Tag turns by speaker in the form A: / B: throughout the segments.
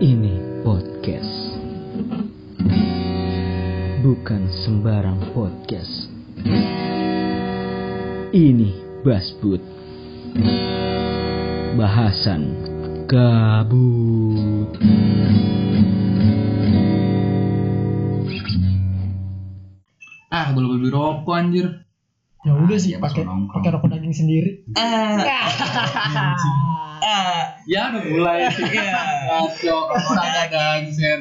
A: Ini podcast Bukan sembarang podcast Ini Basbut Bahasan Gabut
B: Ah, belum beli rokok anjir.
C: Ya udah sih
B: pas
C: pakai
B: nongkrong.
C: pakai rokok daging sendiri.
B: Ah, ah, ya udah mulai sih. Ngaco, ada gangster.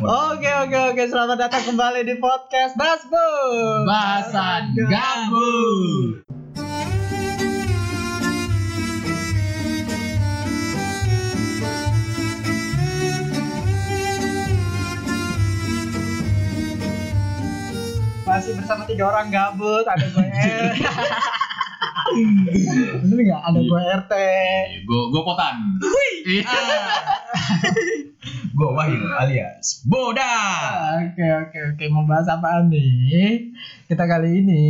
C: Oke oke oke selamat datang kembali di podcast Basbud.
B: Bahasan gabut.
C: Masih bersama tiga orang gabut ada gue R. Bener nggak ada gue RT.
B: Gue gue potan. Gue Wahyu alias
D: Iya.
B: Boda.
C: Oke oke oke mau bahas apaan nih? Kita kali ini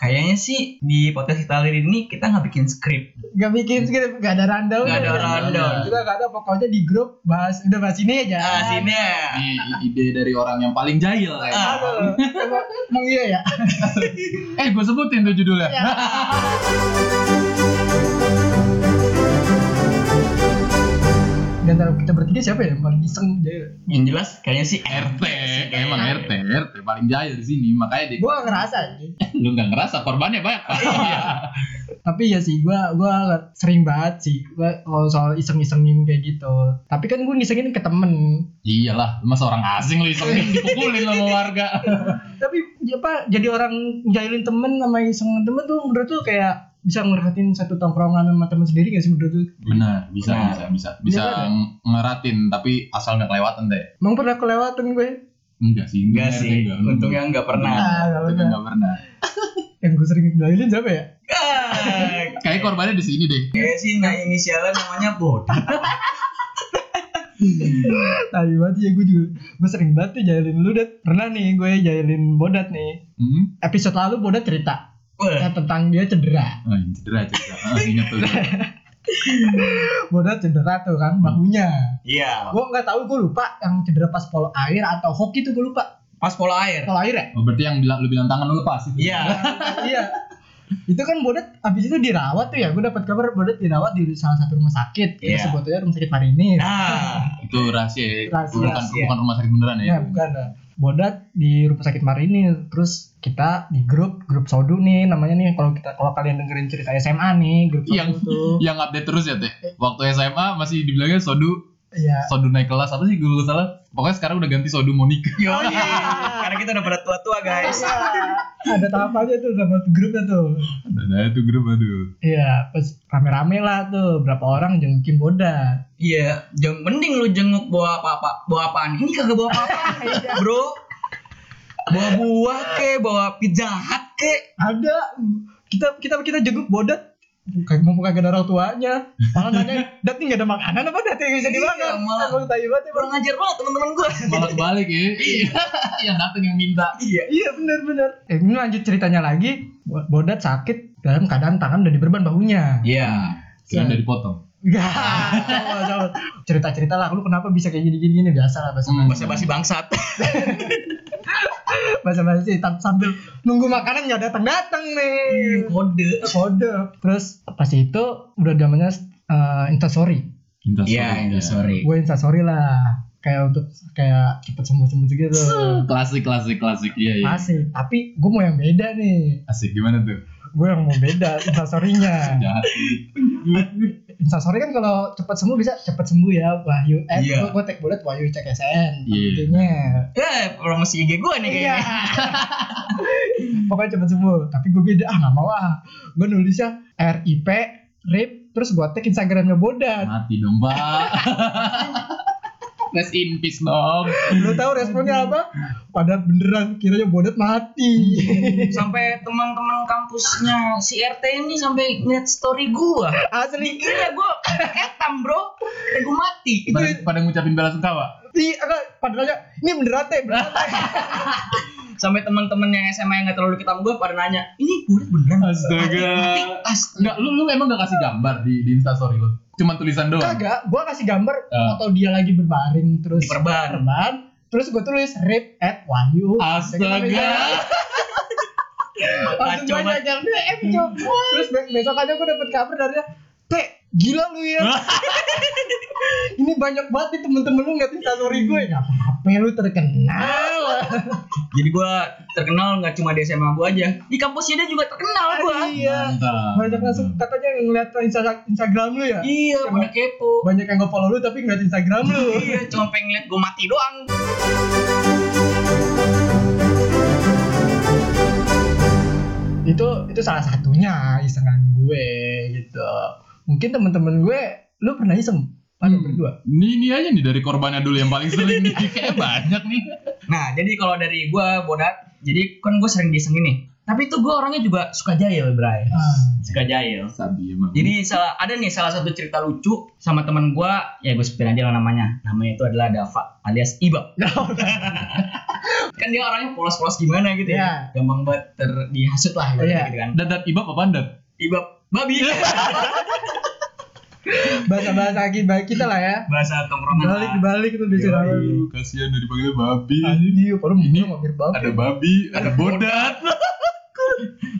D: Kayaknya sih di podcast kita kali ini kita nggak bikin skrip.
C: nggak bikin skrip nggak ada rundown.
D: Nggak ada rundown.
C: Kita nggak ada pokoknya di grup bahas udah bahas ini aja.
D: Ah, sini Ah, ya.
A: Iya.
B: Ini ide dari orang yang paling jahil kayaknya.
C: Aduh, emang- emang iya ya.
B: Eh, gue sebutin tuh
D: Iya.
B: judulnya.
C: Di antara kita bertiga siapa ya yang paling iseng dia?
D: Yang jelas kayaknya sih
B: RT,
D: RT. Iya, sih kayaknya.
B: emang RT, RT paling jahil di sini, makanya dia
C: Gue ngerasa sih.
B: lu nggak ngerasa korbannya banyak. Pak.
D: Iya.
C: Tapi ya sih gue gua sering banget sih gua kalau soal iseng-isengin kayak gitu. Tapi kan gue ngisengin ke temen.
B: Iyalah, masa orang asing lu
D: Iya.
B: iseng dipukulin sama warga.
C: Tapi ya apa jadi orang jahilin temen sama iseng temen tuh menurut tuh kayak bisa ngerahatin satu tongkrongan sama temen sendiri gak sih menurut tuh?
B: Benar, bisa,
D: Benar.
B: bisa, bisa, bisa,
C: Benar.
B: ng- ngeratin, tapi asal nggak kelewatan deh.
C: Emang pernah kelewatan gue?
B: Enggak sih,
D: Enggak sih. Untungnya nggak pernah.
C: Ah, nggak
B: Untungnya
C: pernah.
B: nggak pernah.
C: Yang gue sering jahilin siapa ya?
D: Ah,
B: Kayak korbannya di sini deh.
D: Kayaknya sih nah inisialnya namanya Boda.
C: Tai banget ya gue juga. Gue sering banget tuh jahilin lu, Dat. Pernah nih gue jahilin Bodat nih.
B: Hmm?
C: Episode lalu Bodat cerita.
D: Wah,
C: Ya, tentang dia cedera.
B: Oh, cedera, cedera. Ah,
D: Iya.
B: ingat tuh.
C: Bodat cedera tuh kan
D: Hmm.
C: bahunya.
D: Iya.
C: Gue nggak tahu gue lupa yang cedera pas polo air atau hoki tuh gue lupa.
D: Pas pola air.
C: Polo air ya?
B: Oh, berarti yang bilang lu bilang tangan lu lepas itu.
D: Iya.
C: iya. Itu kan Bodat abis itu dirawat tuh ya. Gue dapat kabar Bodat dirawat di salah satu rumah sakit. Kita
D: Iya.
C: sebut aja rumah sakit Marinis.
D: Nah,
B: Itu rahasia, ya.
C: Rahasia.
B: bukan
D: Rahasia. Iya,
B: bukan rumah sakit beneran ya.
C: Ya, bukan. nah. Bodat di rumah sakit Marini terus kita di grup grup Sodu nih namanya nih kalau kita kalau kalian dengerin cerita SMA nih grup Sodu
D: Iya.
B: Yang
C: tuh
B: yang update terus ya teh. Waktu SMA masih dibilangnya sodu
C: iya
B: sodu naik kelas apa sih gue salah. Pokoknya sekarang udah ganti sodu Monica.
D: yoi. Karena kita udah pada tua-tua guys.
C: ada tahapannya tuh dapat grupnya tuh
B: Nah, itu grup aduh.
C: iya pas rame-rame lah tuh berapa orang jengukin Bodat
D: Iya, jeng mending lu jenguk bawa apa-apa, bawa apaan? Ini kagak bawa apa-apa, bro. Bawa buah ke, bawa pijahat ke.
C: ada kita kita kita jenguk Bodat Bukan mau kagak ada orang tuanya. Malah nanya, "Dat nih gak ada makanan apa dat yang bisa
D: Iya,
C: dimakan?"
D: malah.
C: Emang tai banget emang.
D: Kurang ajar banget teman-teman gue.
B: Malah kebalik ya. yang datang yang minta.
D: Iya.
C: Iya benar-benar. Eh, ini lanjut ceritanya lagi. Bo- Bodat sakit dalam keadaan tangan udah diberban bahunya.
D: Iya.
B: Kira udah dipotong.
C: Enggak. Cerita-cerita lah, lu kenapa bisa kayak gini-gini gini? biasa lah bahasa
B: Hmm.
D: Bahasa basi bangsat.
C: bahasa basi tam- sambil nunggu makanan nggak datang datang nih.
D: Kode.
C: Kode. Terus pas itu udah namanya eh, instastory.
B: Minta
D: Iya,
B: sorry,
D: ini
B: ya.
D: sorry.
C: Gue instastory lah. Kayak untuk kayak cepet sembuh-sembuh gitu.
B: Hmm, Klasik, klasik, klasik. Iya, iya.
C: Asik. Tapi gue mau yang beda nih.
B: Asik gimana tuh?
C: Gue yang mau beda instastorynya.
B: Jahat.
C: Instastory kan kalau cepat sembuh bisa cepat sembuh ya Wahyu eh
D: Iya.
C: gue tag bulat Wahyu cek SN
B: Iya.
C: intinya
D: Eh, promosi IG gue nih
C: iya
D: kayaknya.
C: pokoknya cepat sembuh tapi gue beda ah nggak mau ah gue nulisnya RIP RIP terus gue tag Instagramnya Bodat
B: Mati dong, Pak. Rest in peace dong.
C: lo tahu responnya apa pada beneran kiranya Bodat mati
D: Sampai teman-teman kampusnya si RT ini sampai ngeliat story gue.
C: asli
D: Iya, gue ketam bro. Gue mati.
B: Pada, pada ngucapin bela sungkawa.
C: ya, iya enggak, pada nanya ini beneran teh beneran teh
D: sampai teman-teman yang SMA yang nggak terlalu deket sama gue pada nanya ini kulit beneran
E: Astaga.
D: astaga
E: Enggak, lu lu emang gak kasih gambar di di instastory lu? Cuman tulisan doang.
C: Kagak, gue kasih gambar
E: Ah.
C: foto dia lagi berbaring terus
D: diperban
C: berban, terus gue tulis rip at Wahyu. ya?
E: Astaga.
C: Langsung
D: Kacau
C: banyak yang DM coba. Terus be- besok aja gue dapet kabar dari dia, Teh, gila lu ya. Ini banyak banget nih temen-temen lu ngeliatin story gue. Gak apa-apa lu terkenal.
D: jadi gue terkenal nggak cuma di SMA gue aja di kampusnya dia juga terkenal gue
C: Iya. Banyak langsung katanya yang ngeliat Insta- Instagram lu ya.
D: iya
C: Cuma-
D: pada kepo
C: Banyak yang nge-follow lu tapi ngeliat Instagram lu.
D: iya cuma pengen lihat gue mati doang
C: itu itu salah satunya Instagram gue gitu. Mungkin temen-temen gue lu pernah iseng pada
B: Hmm.
C: berdua.
E: Ini ini aja nih dari korbannya dulu yang paling sering nih. Kayak banyak nih.
D: Nah, jadi kalau dari gue, Bodat, jadi kan gue sering disengin nih. Tapi itu gue orangnya juga suka jahil, Bray.
C: Ah.
D: Suka jahil.
E: Sabi emang.
D: Jadi salah, ada nih salah satu cerita lucu sama teman gue, ya gue sebutin aja lah namanya. Namanya itu adalah Dava alias Iba. Kan dia orangnya polos-polos gimana gitu ya.
C: Iya.
D: Gampang banget ter dihasut lah ibaratnya
C: Iya.
D: gitu kan.
E: Dan dan ibab apa dan?
D: Iba babi.
C: Bahasa-bahasa akibat kita lah ya.
D: Bahasa tongkrongan. lah.
C: Balik-balik itu biasanya.
E: Yoi, Kasihan dari panggilnya babi.
C: Iya, baru ini mampir banget.
E: Ada babi, ada bodat.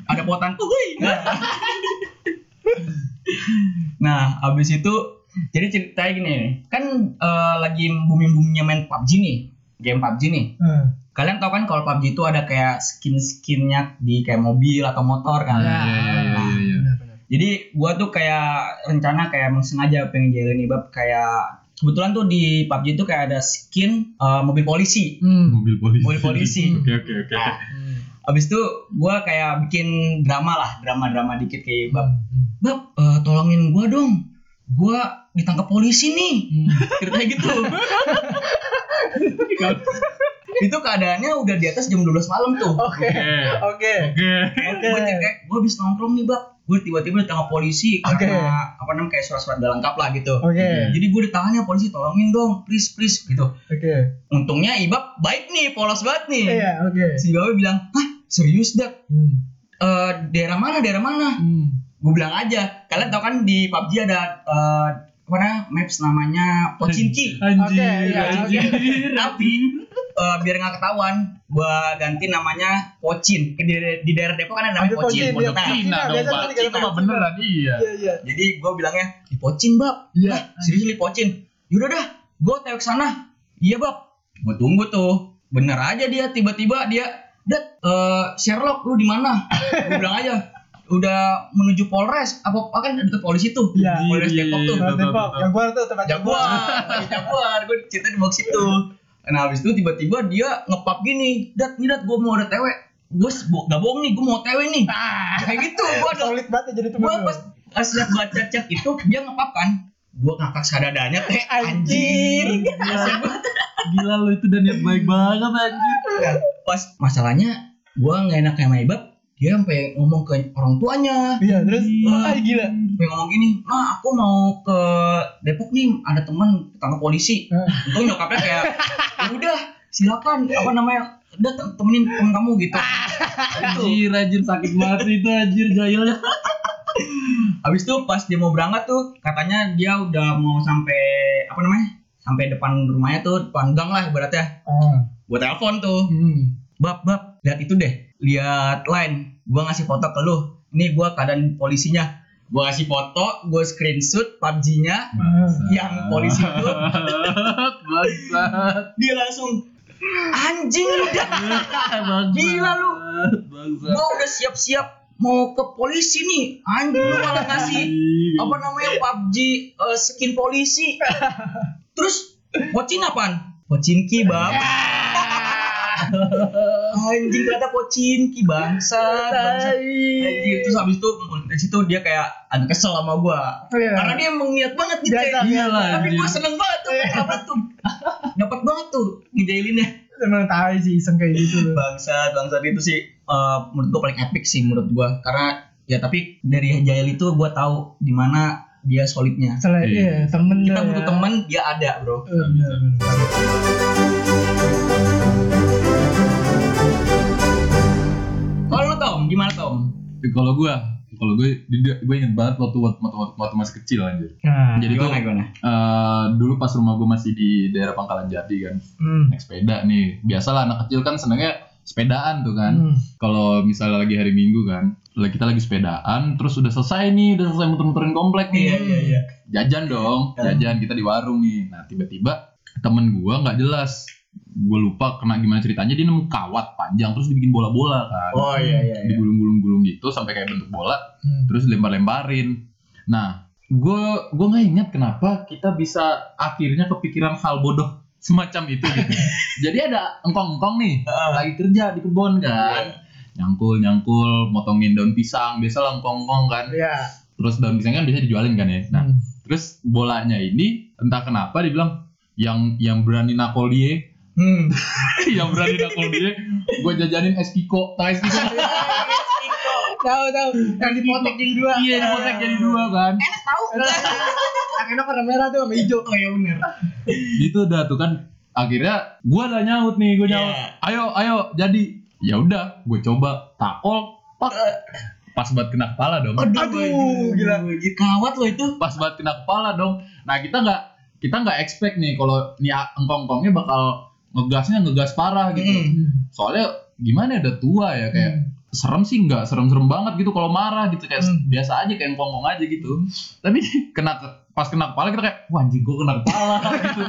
D: ada potan uhuy. nah abis itu jadi ceritanya gini nih kan eh, lagi booming boomingnya main PUBG nih game PUBG nih
C: Hmm.
D: kalian tau kan kalau PUBG itu ada kayak skin skinnya di kayak mobil atau motor kan
B: Iya.
C: Ya.
E: Ah, iya.
C: Benar-benar.
D: jadi gua tuh kayak rencana kayak emang sengaja pengen jailin nih bab kayak kebetulan tuh di PUBG itu kayak ada skin eh, mobil polisi
C: Hmm.
E: Mobil polisi.
D: Mobil polisi.
E: Oke oke oke.
D: Nah, abis itu gua kayak bikin drama lah drama drama dikit kayak bab Bab, eh, tolongin gua dong. Gua ditangkap polisi nih.
C: Hmm.
D: Ceritanya gitu. itu keadaannya udah di atas jam 12 malam tuh.
C: Oke. Oke.
E: Oke.
D: Gue gue habis nongkrong nih, Bab. Gue tiba-tiba ditangkap polisi
C: Oke.
D: karena apa namanya kayak surat-surat gak lengkap lah gitu.
C: Oke.
D: Jadi gue ditahannya polisi tolongin dong, please please gitu.
C: Oke.
D: Untungnya Ibab baik nih, polos banget nih.
C: Iya, oke.
D: Si Ibab bilang, "Hah, serius, Dak?
C: Hmm.
D: Eh, daerah mana? Daerah mana?"
C: Hmm.
D: gue bilang aja kalian tau kan di PUBG ada eh, apa namanya, maps namanya Pocinki
C: Oke,
E: Anjir.
C: iya, oke.
D: tapi eh, biar nggak ketahuan gue ganti namanya Pocin Di- di, di daerah Depok kan ada
C: Ada
D: namanya
C: Pocin, iya.
D: Pocin, Pondok Nah,
E: Cina
C: Cina,
E: dong
C: biasa
E: Pak.
C: tadi kata
E: Cina mah
C: Pak.
E: beneran iya.
C: Iya, iya.
D: jadi gue bilangnya di Pocin bab
C: Iya.
D: Lah, serius di Pocin yaudah dah gue tengok ke sana iya bab gue tunggu tuh bener aja dia tiba-tiba dia dat eh, Sherlock lu di mana gue bilang aja udah menuju Polres apa apa kan deket polisi tuh
C: Iya.
D: Polres
E: Iya,
D: Depok
E: iya,
D: tuh
E: iya.
C: Mas Depok, Jaguar tuh tempat Jaguar.
D: jaguar lagi jaguar gue cerita di box itu nah habis itu tiba-tiba dia ngepap gini dat nih dat gue mau ada tewe gue gak bohong nih gue mau tewe nih
E: Ah.
D: kayak gitu gue ada
C: Solid banget ya jadi temen
D: gue
C: lu.
D: pas pas liat baca chat itu dia ngepap kan gue ngakak sadadanya teh anjir Asik banget.
E: Gila lu itu dan niat baik banget anjir.
D: Nah, pas masalahnya gue nggak enak sama ibab dia sampai ngomong ke orang tuanya
C: Iya, terus
D: Wah.
C: ah gila.
D: sampai ngomong gini ma aku mau ke Depok nih ada teman ketangkap polisi Untung nyokapnya kayak "Ya udah silakan apa namanya udah tem- temenin temen kamu gitu itu
E: Anjir anjir sakit banget itu anjir jahilnya.
D: habis itu pas dia mau berangkat tuh katanya dia udah mau sampai apa namanya sampai depan rumahnya tuh depan gang lah ibaratnya
C: Ah.
D: gue telepon tuh
C: Hmm.
D: bab bab lihat itu deh lihat line gua ngasih foto ke lu ini gua keadaan polisinya gua ngasih foto gua screenshot PUBG-nya yang polisi itu
E: Bangsat.
D: dia langsung anjing lu dah
E: Eh, Bangsat.
D: Gila lu.
E: Bangsat.
D: gua udah siap-siap mau ke polisi nih anjing lu malah ngasih apa namanya PUBG eh, skin polisi terus pocin apaan pocinki bang anjing kata pocinki bangsat bangsat anjing terus habis itu dari situ dia kayak agak kesel sama gua
C: Iya.
D: karena dia emang niat banget gitu
C: Biasa, Iya.
D: ya.
E: biasa,
D: tapi gua
E: anjing.
D: seneng banget tuh dapat tuh dapat banget tuh ngejailinnya
C: Emang tahu sih iseng kayak gitu.
D: Iya. bangsat bangsat itu sih eh, menurut gua paling epic sih menurut gua karena ya tapi dari Jail itu gua tahu di mana dia solidnya
C: Selain
E: Iya.
C: iya, temen lah
D: kita
C: Iya,
D: butuh
C: ya. Hmm.
D: teman dia ada bro
C: Eh, bener, bener.
D: Gimana Tom?
B: Ya, kalau gue kalau gue gue inget banget waktu waktu, waktu, waktu masih kecil anjir
C: Nah,
B: jadi tuh
D: gimana gimana?
B: eh, dulu pas rumah gue masih di daerah Pangkalan Jati kan
C: hmm.
B: naik sepeda nih biasalah anak kecil kan senengnya sepedaan tuh kan
C: Hmm.
B: kalau misalnya lagi hari Minggu kan lagi kita lagi sepedaan terus udah selesai nih udah selesai muter-muterin komplek nih
D: Iya,
B: jajan dong jajan kita di warung nih nah tiba-tiba temen gua nggak jelas gue lupa kena gimana ceritanya dia nemu kawat panjang terus dibikin bola-bola kan
D: Oh iya iya. iya.
B: digulung-gulung-gulung gitu sampai kayak bentuk bola
C: Hmm.
B: terus lempar-lemparin nah gue gue nggak ingat kenapa kita bisa akhirnya kepikiran hal bodoh semacam itu gitu jadi ada engkong-engkong nih lagi kerja di kebun kan nyangkul nyangkul motongin daun pisang biasa lah engkong-engkong kan
C: Ya.
B: terus daun pisang kan biasanya dijualin kan ya nah
C: Hmm.
B: terus bolanya ini entah kenapa dibilang yang yang berani nakol dia
C: Hmm.
B: yang berani nakol dia gue jajanin es kiko tas es kiko
C: Tahu tahu yang dipotek jadi dua.
B: Iya, dipotek jadi dua kan.
C: Yang enak warna merah tuh sama hijau. Oh iya bener.
B: Gitu dah tuh kan. Akhirnya gua udah nyaut nih, gua nyaut.
C: Iya.
B: Ayo, ayo, jadi. Ya udah, gue coba takol. Pak. Pas banget kena kepala dong.
C: Aduh, gila.
D: Kawat lo itu.
B: Pas banget kena kepala dong. Nah, kita nggak kita nggak expect nih kalau nih engkong-engkongnya bakal ngegasnya ngegas parah gitu.
C: Hmm.
B: Soalnya gimana ya, udah tua ya kayak serem sih nggak serem-serem banget gitu kalau marah gitu kayak
C: Hmm.
B: biasa aja kayak ngomong aja gitu tapi kena ke- pas kena kepala kita kayak wah anjing gue kena kepala gitu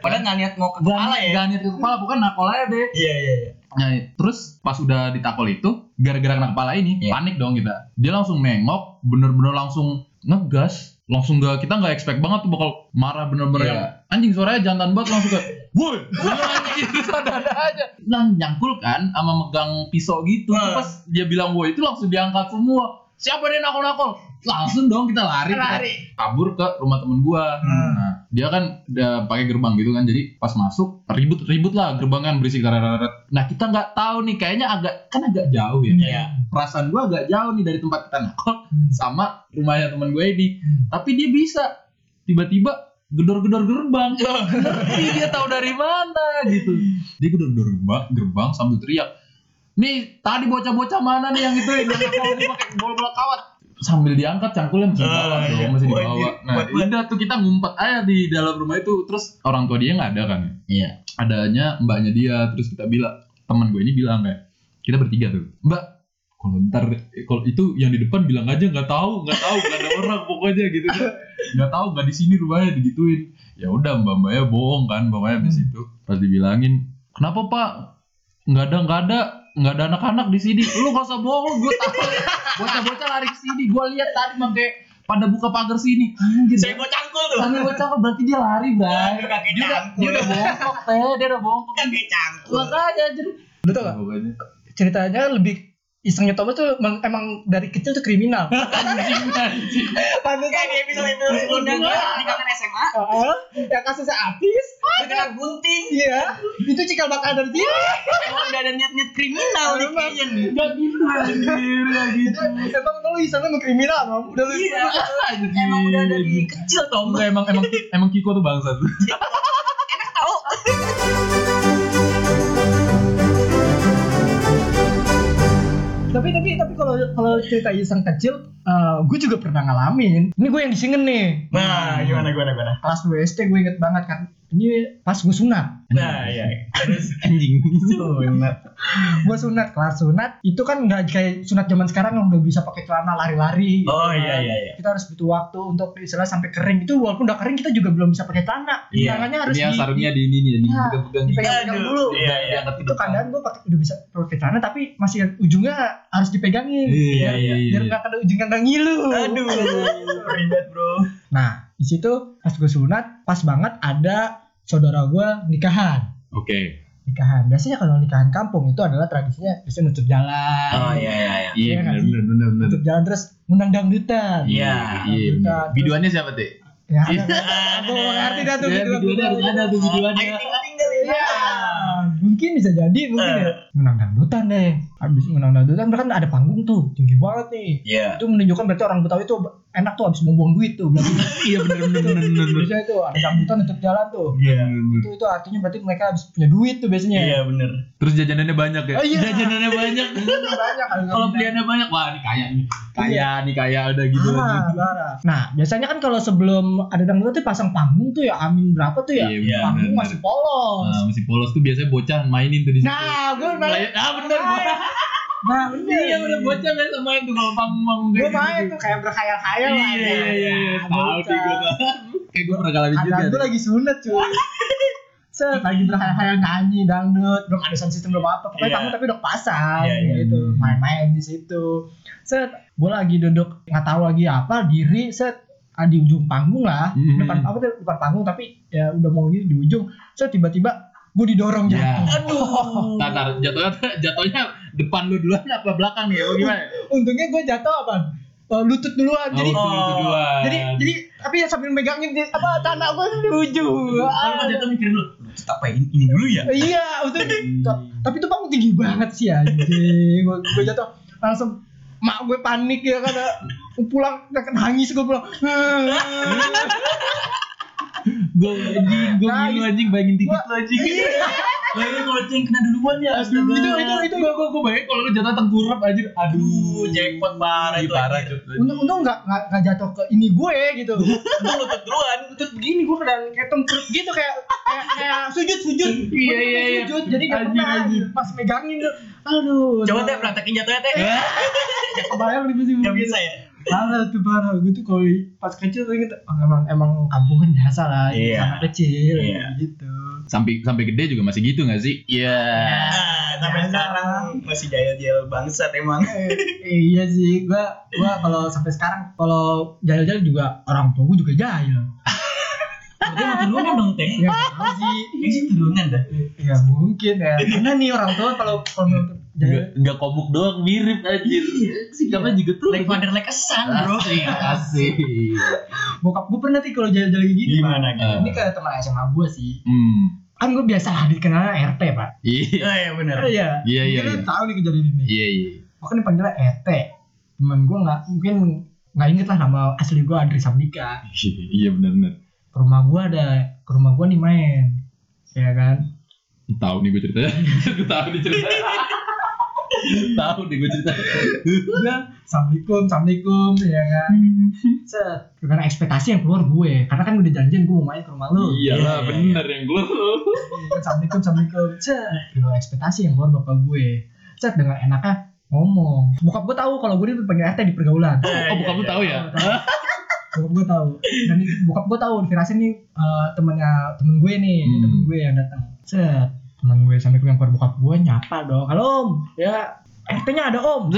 D: Padahal nggak niat mau ke kepala ya.
B: Gak niat ke kepala, bukan nakol aja deh.
D: Iya iya iya.
B: Nah, terus pas udah ditakol itu, gara-gara kena kepala ini,
D: Iya.
B: panik dong kita. Dia langsung nengok, bener-bener langsung ngegas. Langsung gak, kita gak expect banget tuh bakal marah bener-bener
D: Iya.
B: yang, anjing suaranya jantan banget langsung kayak, woi, woi, anjing, terus ada-ada aja. Nah, nyangkul kan sama megang pisau gitu.
D: Nah.
B: Pas dia bilang woi itu langsung diangkat semua. Siapa dia nakol-nakol? Langsung dong kita lari. kita
C: Lari.
B: kabur ke rumah temen gua. Nah, dia kan udah pakai gerbang gitu kan, jadi pas masuk ribut-ribut lah gerbangan berisik tararat. Nah kita nggak tahu nih, kayaknya agak kan agak jauh ya.
D: Iya. Hmm.
B: Perasaan gua agak jauh nih dari tempat kita nakal sama rumahnya temen gue ini. Tapi dia bisa tiba-tiba gedor-gedor gerbang.
D: Oh.
B: Ngerti dia tahu dari mana gitu. Dia gedor-gedor gerba- gerbang sambil teriak. Nih tadi bocah-bocah mana nih yang itu yang nakal nih pakai bola-bola kawat sambil diangkat cangkulnya masih di bawah
D: Ah,
B: dong,
D: iya.
B: masih di
D: Wah,
B: bawah.
D: ini
B: Nah,
D: buat- buat-
B: udah tuh kita ngumpet aja di dalam rumah itu. Terus orang tua dia nggak ada kan?
D: Iya.
B: Adanya mbaknya dia. Terus kita bilang teman gue ini bilang kayak kita bertiga tuh, Mbak kalau ntar kalau itu yang di depan bilang aja nggak tahu nggak tahu nggak ada orang pokoknya gitu nggak tahu nggak di sini rumahnya digituin ya udah mbak mbaknya bohong kan mbak mbaknya abis itu pas dibilangin kenapa pak nggak ada nggak ada nggak ada anak-anak di sini lu gak usah bohong gue tahu bocah-bocah lari ke sini gue lihat tadi pakai pada buka pagar sini anjir
D: Saya mau cangkul tuh.
B: Sambil gue cakep berarti dia lari bray
D: Aduh, kakek
B: Dia udah,
D: cangkul.
B: dia udah bongkok teh Dia udah bongkok
D: Kan kayak cangkul.
B: Makanya anjir
C: Lu tau gak? Ceritanya lebih isengnya Thomas tuh emang, emang dari kecil tuh kriminal. Kan
B: Anjing anjing
C: Pantesan
D: Kayak Kan dia bisa itu sebelumnya di kantor SMA.
C: Heeh, "Ah, yang kasusnya Apis.
D: Dia kena gunting.
C: Iya, itu cikal bakal dari dia.
D: Emang udah ada niat-niat kriminal nih
C: Emang.
D: kayaknya nih.
B: Gak gitu anjir Gak gitu
C: Emang lu isengnya emang kriminal, Bang. Udah lu
D: Iya. Emang udah dari kecil Tom.
B: Enggak emang emang emang Kiko tuh bangsa tuh.
D: Enak tau.
C: tapi tapi tapi kalau kalau cerita iseng kecil eh, gue juga pernah ngalamin ini gue yang disingin nih
D: Nah, gimana gimana gimana.
C: kelas 2 SD gue inget banget kan ini pas gue sunat
D: Nah, iya.
B: Anjing.
D: Hmm.
C: gue sunat kelas sunat itu kan nggak kayak sunat zaman sekarang yang udah bisa pakai celana lari-lari gitu
D: Oh,
C: kan.
D: iya, iya, iya.
C: kita harus butuh waktu untuk istilah sampai kering itu walaupun udah kering kita juga belum bisa pakai celana
D: Iya.
C: tangannya harus
B: Ini yang
C: di-
B: sarungnya di ini nih, di
C: Iya.
B: pegang-pegang gitu.
C: dipegang-pegang
D: Aduh,
C: dulu
D: Iya, iya.
C: itu kadang gue pakai udah bisa pakai celana tapi masih ujungnya harus dipegangin
B: Iya,
C: biar-
B: iya, iya.
C: biar nggak kena ujungnya nggak ngilu
D: Aduh, ribet bro.
C: Nah, di situ pas gue sunat, pas banget ada saudara gue nikahan.
B: Oke. Iya,
C: Nikahan. Biasanya kalau nikahan kampung itu adalah tradisinya biasanya nutup jalan.
D: Oh iya iya iya.
B: Iya,
C: Iya nggak
B: benar
C: sih?
B: benar benar benar.
C: Nutup jalan terus ngundang dangdutan.
D: Iya.
B: Iya, benar.
C: Terus-
B: Biduannya siapa, Teh?
C: Ya, ada. Gue ngerti dah tuh
B: Ya,
C: biduan.
B: biduannya harus ada tuh biduannya.
D: Ayo tinggal tinggal ya.
C: Iya. mungkin bisa jadi mungkin ya.
D: Eh.
C: Menang dangdutan deh. Habis menang dangdutan mereka kan ada panggung tuh tinggi banget nih.
D: Iya.
C: Itu menunjukkan berarti orang Betawi itu enak tuh habis buang-buang duit tuh. Berarti
B: iya bener bener bener bener bener.
C: biasanya tuh ada dangdutan tetap jalan tuh.
D: Iya.
C: Itu itu artinya berarti mereka habis punya duit tuh biasanya.
D: Iya bener.
B: terus jajanannya banyak ya
C: Oh, iya.
B: jajanannya banyak
C: Banyak kalau
B: kalau pilihannya banyak wah ini kaya nih
C: Iya.
B: kaya nih kaya udah gitu aja
C: Parah, parah. Nah, biasanya kan kalau sebelum ada dangdutan tuh pasang panggung tuh ya amin berapa tuh ya?
B: Iya,
D: iya,
C: panggung
B: bener.
C: masih polos.
B: Nah, masih polos tuh biasanya bocah mainin tuh di situ.
C: Nah, gue main.
B: Main- ah bener bocah.
C: Nah, bener.
B: Iya bener bocah biasa main tuh kalau panggung
C: Gue main tuh kayak berkhayal-khayal
B: Iya
C: lah.
B: iya iya. iya. Tahu
C: bocah.
B: nih gue. Kayak gue Eh, pernah ngalamin juga.
C: Anak gue lagi sunat cuy. Set, lagi berkhayal-khayal nyanyi dangdut, belum ada sound system belum apa, pokoknya
D: Iya.
C: panggung tapi udah pasang
D: Iya, iya.
C: gitu, main-main di situ. Set, gue lagi duduk nggak tahu lagi apa, diri set ah, di ujung panggung lah,
B: Mhm.
C: depan apa tuh depan panggung tapi ya udah mau gitu di ujung, set tiba-tiba gue didorong
B: Iya.
C: jatuh.
B: Ntar, ntar, jatuhnya jatuhnya depan lu duluan apa belakang nih? Oh gimana?
C: Untungnya gue jatuh apa? Eh, lutut duluan, jadi
B: Oh, lu duluan.
C: jadi jadi tapi ya sambil megangin di- apa tanah gue di ujung.
D: Kalau
C: Ah.
D: Kan, pas jatuh mikirin dulu, "Cet, apa ini, ini dulu ya?
C: iya udah tapi tuh panggung tinggi banget sih anjing gue gue jatuh langsung mak gue panik ya karena gue pulang nangis gue pulang
B: Gue anjing, gue
C: Nah,
B: bingung anjing bayangin tiket
C: Gua- Iya,
B: lu anjing.
D: Lah ini kalau ceng kena duluan ya.
C: itu itu itu, itu.
B: Gue gue gue bayangin kalau lu jatuh tengkurap anjir. Aduh,
D: Aduh, jackpot parah itu. Parah itu.
C: untung untung nggak nggak nggak jatuh ke ini gue gitu
D: Untung lutut duluan.
C: terus gini gue kadang kayak tengkurap gitu kayak kayak, kayak sujud sujud
B: Iya, iya, iya.
C: sujud jadi nggak
B: Anjing,
C: pernah
B: anjing.
C: pas megangin tuh aduh
D: Coba teh praktekin jatuhnya teh.
C: bayang di sih
D: Eh? Gak bisa ya.
C: parah tuh parah gue tuh kalau pas kecil tuh gitu "Oh, emang emang kampungan biasa lah
D: Iya.
C: anak kecil
D: Iya.
C: gitu
B: Sampai sampai gede juga masih gitu gak sih? Iya.
D: Ah, sampai
C: Biasa.
D: sekarang masih jaya-jaya bangsat emang.
C: Eh, eh, iya sih gua gua kalau sampai sekarang kalau jahil-jahil juga orang tua gua juga jahil
D: Dia mau turunan dong teh.
C: ya nggak tahu sih
D: Ini sih turunan dah.
C: ya mungkin ya karena nih orang tua kalau kalau jahil
B: Nggak nggak komuk doang mirip anjir. Sikapnya Iya, juga tuh. Ah, iya.
D: Like Vander like kesan bro.
B: Asik.
C: bokap gua pernah sih kalau jahil-jahil kayak gini
D: Gimana
C: Pak.
B: gitu?
C: ini kayak teman SMA gua sih
B: Hmm.
C: kan gua biasa lah dikenalnya RT pak
B: Iya.
D: Oh, iya benar.
C: iya
B: Iya, iya,
C: Mungkin
B: iya.
C: lu tahu nih kejadian ini
B: Iya iya.
C: makanya dipanggilnya ET temen gue nggak mungkin nggak inget lah nama asli gue Andri Sabdika
B: Iya benar benar.
C: ke rumah gue ada ke rumah gue nih main ya kan
B: Tahu nih gue ceritanya. Gue tahu nih ceritanya. tahu nih gue ceritanya.
C: udah assalamualaikum assalamualaikum ya kan set karena ekspektasi yang keluar gue karena kan udah janjian gue mau main ke rumah lu
B: Iya lah benar yang gue.
C: Iya kan, assalamualaikum assalamualaikum set di luar ekspektasi yang keluar bapak gue set dengan enaknya ngomong bokap gue tahu kalau gue dipanggil RT di pergaulan
D: Ah,
B: Oh bukan
D: iya,
B: lu tahu ya?
C: bokap gue tahu dan itu bokap gue tahu Firasin nih eh, temennya temen gue nih ini
B: Hmm.
C: temen gue yang datang set temen gue sampai ke yang keluar bokap gue nyapa dong halo om ya RT-nya ada om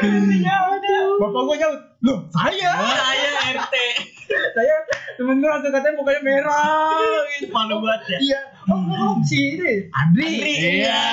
C: RT-nya ada bapak gue nyaut loh saya
D: Wah, saya iya. Ah, RT.
C: saya temen gue langsung katanya mukanya merah gitu.
D: Malu banget ya.
C: iya om om si ini Andri,
D: Iya.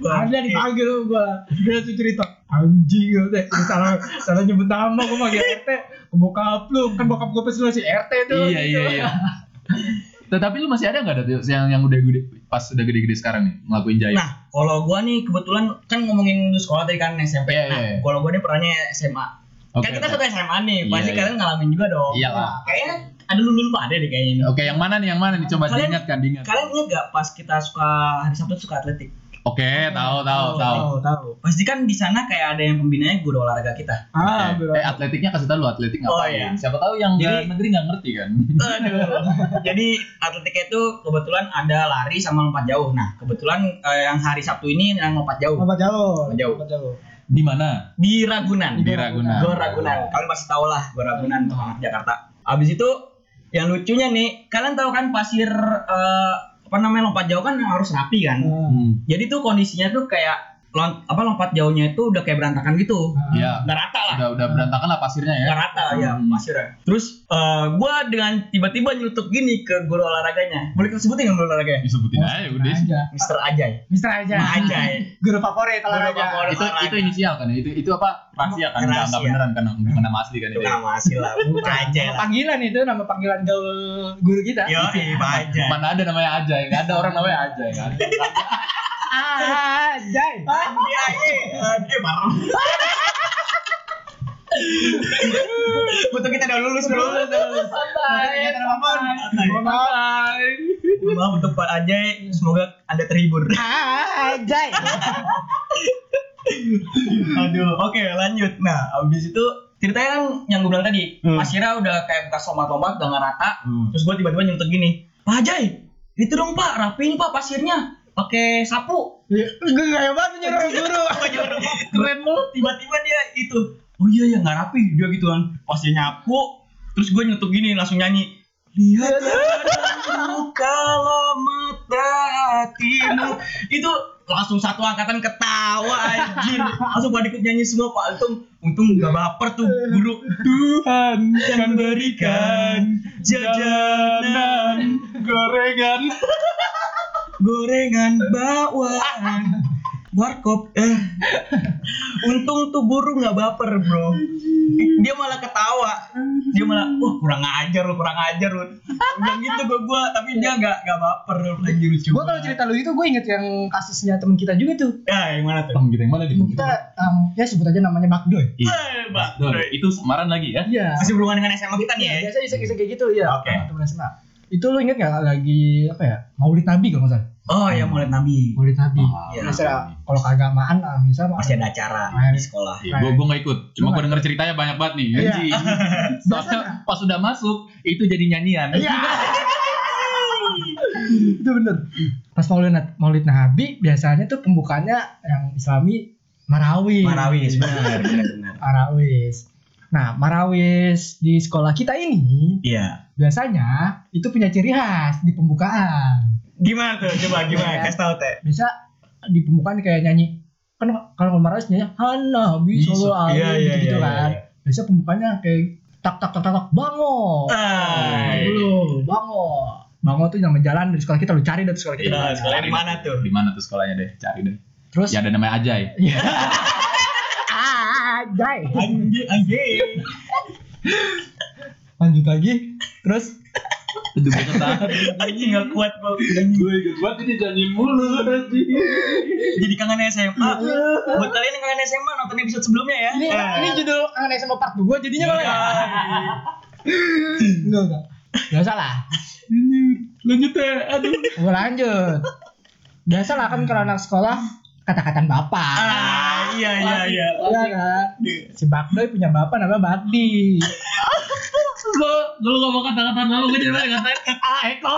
C: ada dipanggil gua dia langsung cerita anjing gitu teh Gua salah salah nyebut nama gua manggil RT ke bokap lu kan bokap gua pasti masih RT tuh Gitu.
B: Iya iya iya. Tetapi lu masih ada nggak ada Tius, yang yang udah gede pas udah gede-gede sekarang nih ngelakuin jahil?
D: Nah, kalau gua nih kebetulan kan ngomongin lu sekolah tadi kan SMP.
B: Iya, iya, iya.
D: Nah, kalau gua nih perannya SMA.
B: Oke,
D: kan kita
B: oke.
D: satu SMA nih,
B: Iya,
D: pasti
B: iya.
D: kalian ngalamin juga dong.
B: Iya lah.
D: Kayaknya ada lulu lupa ada deh kayaknya ini.
B: Oke, yang mana nih? Yang mana nih? Coba
D: Kalian-
B: diingat kan, diingat.
D: Kalian ingat gak pas kita suka hari Sabtu suka atletik?
B: Oke, tahu tahu tahu.
C: tahu
D: Pasti kan di sana kayak ada yang pembinanya guru olahraga kita.
C: ah
B: Eh, eh, atletiknya kasih tahu lu atletik ngapain?
D: Oh, iya.
B: Siapa tahu yang
D: Jadi-
B: nggak negeri nggak ngerti kan?
D: Aduh. Jadi atletiknya itu kebetulan ada lari sama lompat jauh. Nah, kebetulan eh, yang hari Sabtu ini yang lompat jauh
C: apa jauh
D: Lompat jauh.
C: Lompat jauh
B: Di mana?
D: di Ragunan.
B: Di Ragunan.
D: Gor Ragunan. Kalian pasti tahu lah Gor Ragunan untuk anak Jakarta. Abis itu yang lucunya nih, kalian tahu kan pasir eh, apa namanya lompat jauh kan harus rapi kan?
C: Ah.
B: Hmm.
D: Jadi tuh kondisinya tuh kayak lon- apa lompat jauhnya itu udah kayak berantakan gitu.
C: Ah.
B: Iya.
D: Udah rata lah.
B: Udah udah berantakan lah pasirnya ya.
D: Udah rata ya pasirnya. Terus eh, gua dengan tiba-tiba nyelutup gini ke guru olahraganya. Boleh kita sebutin nggak guru olahraganya?
B: Disebutin aja udah.
C: aja.
D: Mister Ajay.
C: Mister aja.
D: Nah, Ajay.
C: Guru favorit
D: Guru
C: olahraga.
D: favorit.
B: Itu itu inisial kan ya? Itu itu apa? Rahasia kan enggak enggak
D: Rahasia.
B: beneran kan bukan nama asli kan
D: Itu
B: itu.
D: nama asli lah. Bukan Ajay
C: Nama
D: lah.
C: Panggilan itu nama panggilan gaul guru kita.
B: Iya.
D: Yo, Pak Ajay.
B: Mana ada namanya aja, enggak ada orang namanya aja kan.
C: Ah, Ajay.
D: Iya, Ajay, marah. Untuk kita udah lulus bro.
C: Santai. Santai.
D: Maaf untuk Pak Ajay, semoga anda terhibur.
C: Ajay.
D: Aduh, oke lanjut. Nah, abis itu ceritanya kan yang gue bilang tadi, pasirnya udah kayak bekas lompat-lompat, udah nggak rata. Terus gue tiba-tiba nyentuh gini, Pak Ajay, itu dong Pak, rapiin Pak pasirnya, pakai sapu.
C: Gue gak banget nyuruh guru.
B: Oh,
D: Keren banget. Tiba-tiba dia itu, oh iya ya nggak rapi dia gitu kan, pasir nyapu. Terus gue nyentuh gini langsung nyanyi. Lihat padaku kalau mata hatimu itu langsung satu angkatan ketawa anjir langsung pada ikut nyanyi semua pak untung untung nggak baper tuh guru
B: Tuhan
D: Jangan berikan jajanan
B: gorengan.
D: gorengan bawaan warkop eh untung tuh guru nggak baper bro dia malah ketawa dia malah wah kurang ajar lu kurang ajar lu bilang gitu gue gua tapi dia nggak nggak baper lagi lucu
C: Gue kalau
D: banget.
C: cerita lu itu gue inget yang kasusnya temen kita juga tuh.
D: ya yang mana tuh
B: Temen kita gitu, yang mana nih?
C: Kita em, ya sebut aja namanya Bagdoy.
B: Iya.
D: Eh, Mbak.
B: Doi, itu samaran lagi ya?
C: Iya.
D: masih berhubungan dengan SMA kita nih ya
C: Iya, biasa iseng-iseng kayak gitu ya.
D: Oke.
C: Temen SMA. Itu lu inget gak lagi apa ya? Maulid Nabi kalau nggak salah.
D: oh ya mulai nabi
C: Maulid Nabi.
D: Iya.
C: Misalnya kalau keagamaan ah bisa mah.
D: masih ada acara di sekolah
B: Iya, gue gue gak ikut. Cuma gue denger ceritanya banyak banget nih.
C: Iya.
B: Anjing. Soalnya pas udah masuk itu jadi nyanyian.
C: Iya. itu bener. Pas Maulid Na- Maulid Nabi biasanya tuh pembukaannya yang Islami Marawi.
D: Marawis Iya. benar benar benar
C: Marawis. Nah, Marawis di sekolah kita ini
D: iya
C: biasanya itu punya ciri khas di pembukaan.
D: gimana tuh coba
C: Iya.
D: gimana kasih tahu teh
C: Bisa di pembukaan kayak nyanyi kan kalau Marawis nyanyi Hana bisa
B: Bisa.
C: lo
D: Iya, iya,
C: gitu
D: iya,
C: kan.
D: iya,
C: Biasa pembukaannya kayak tak tak tak tak, tak bango.
D: ah
C: Dulu bango. Bango tuh nama jalan dari sekolah kita lu cari dari sekolah kita.
D: Nah, sekolahnya di mana tuh?
B: Iya, Di mana tuh sekolahnya deh? Cari deh.
C: Terus
B: Ya ada namanya Ajay.
C: Ajay.
D: Anjing, anjing.
C: Lanjut lagi. Terus
B: Itu gue ketahan.
D: Anjing gak kuat bang.
B: Gue ikut banget ini nyanyi mulu nanti.
D: Jadi kangen SMA. Buat kalian yang kangen SMA nonton episode sebelumnya ya.
C: Iya. ini ini judul aneh sama part 2 jadinya malah ya.
D: Iya.
C: Enggak enggak. ya. Enggak salah.
B: Lanjut deh. Aduh.
C: Gue lanjut. Biasa lah kan kalau anak sekolah kata-kataan bapak. ya?
D: Ah, iya iya iya.
C: Iya kan? Si Bakdoy punya bapak namanya Bakdi.
B: Lo lo ngomong kata-kata lo gue jadi banyak ngatain. Ah Eko.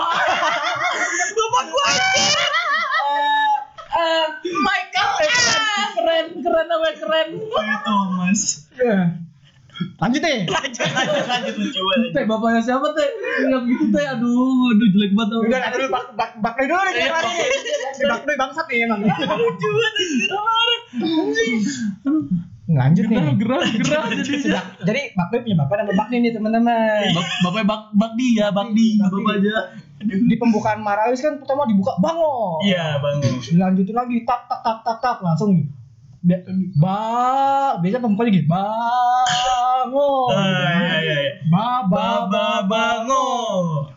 D: Bapak gua.
C: Eh,
D: Michael
C: eh, Keren, keren apa keren.
D: Thomas.
C: Iya. Lanjut deh.
D: Lanjut lanjut lanjut lucu banget.
C: Teh bapaknya siapa teh? Yang gitu teh aduh aduh jelek banget. Udah ada dulu bak bak bakdoy dulu nih kemarin. Si Bakdoy bangsat nih emang.
D: Lucu banget anjir.
C: Lanjut nih.
B: Gerah gerah
C: Si Bak- Jadi Bakdoy punya bapak namanya Bakdi nih teman-teman.
B: Bapak bak bak
C: ya,
B: dia bak di bapak aja.
C: di pembukaan Marawis kan pertama dibuka bango
D: Iya bang.
C: dilanjutin lagi tak tak tak tak tak langsung bi- ba biasa pembukaan lagi bango
D: Ah, iya iya iya.
C: ba ba ba
D: Baba bango.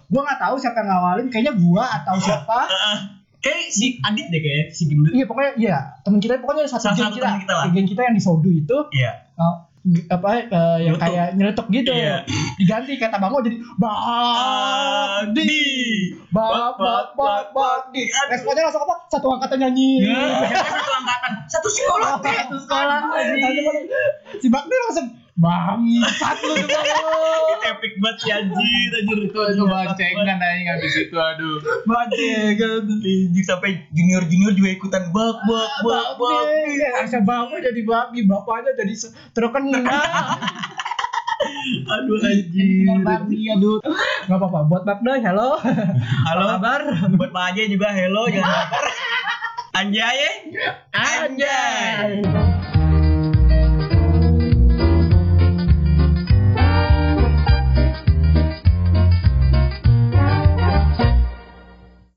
C: gua nggak tahu siapa yang ngawalin kayaknya gua atau siapa
D: Ah, Kayak si Adit deh kayaknya si gendut.
C: iya pokoknya iya temen kita pokoknya satu
D: Salah
C: geng
D: satu
C: kita
D: temen kita lah.
C: geng kita yang disodu itu
D: Iya.
C: eh, g- apa eh, yang
D: Nyeletuk.
C: kayak nyeletuk gitu
D: Iya.
C: diganti kata bango jadi ba
D: Adi.
C: ba ba ba ba di responnya langsung apa satu angkatan nyanyi
D: Iya. satu angkatan, satu sekolah,
C: Iya. satu sekolah si Bakdo langsung bangsat lu semua
D: Epic banget si anjir, anjir itu
B: Itu bancengan aja habis itu Gitu, aduh.
D: Bajengan, anjir sampai junior junior juga ikutan bak bak bak bak.
C: Asal bapak jadi babi, bapaknya jadi se- terkenal.
D: Aduh anjir.
C: Babi, aduh. Gak apa-apa, buat Bakdo, halo.
D: Halo,
C: Kabar?
D: buat Pak Aja juga hello jangan baper.
F: Anjay. Anjay.
D: Anjay.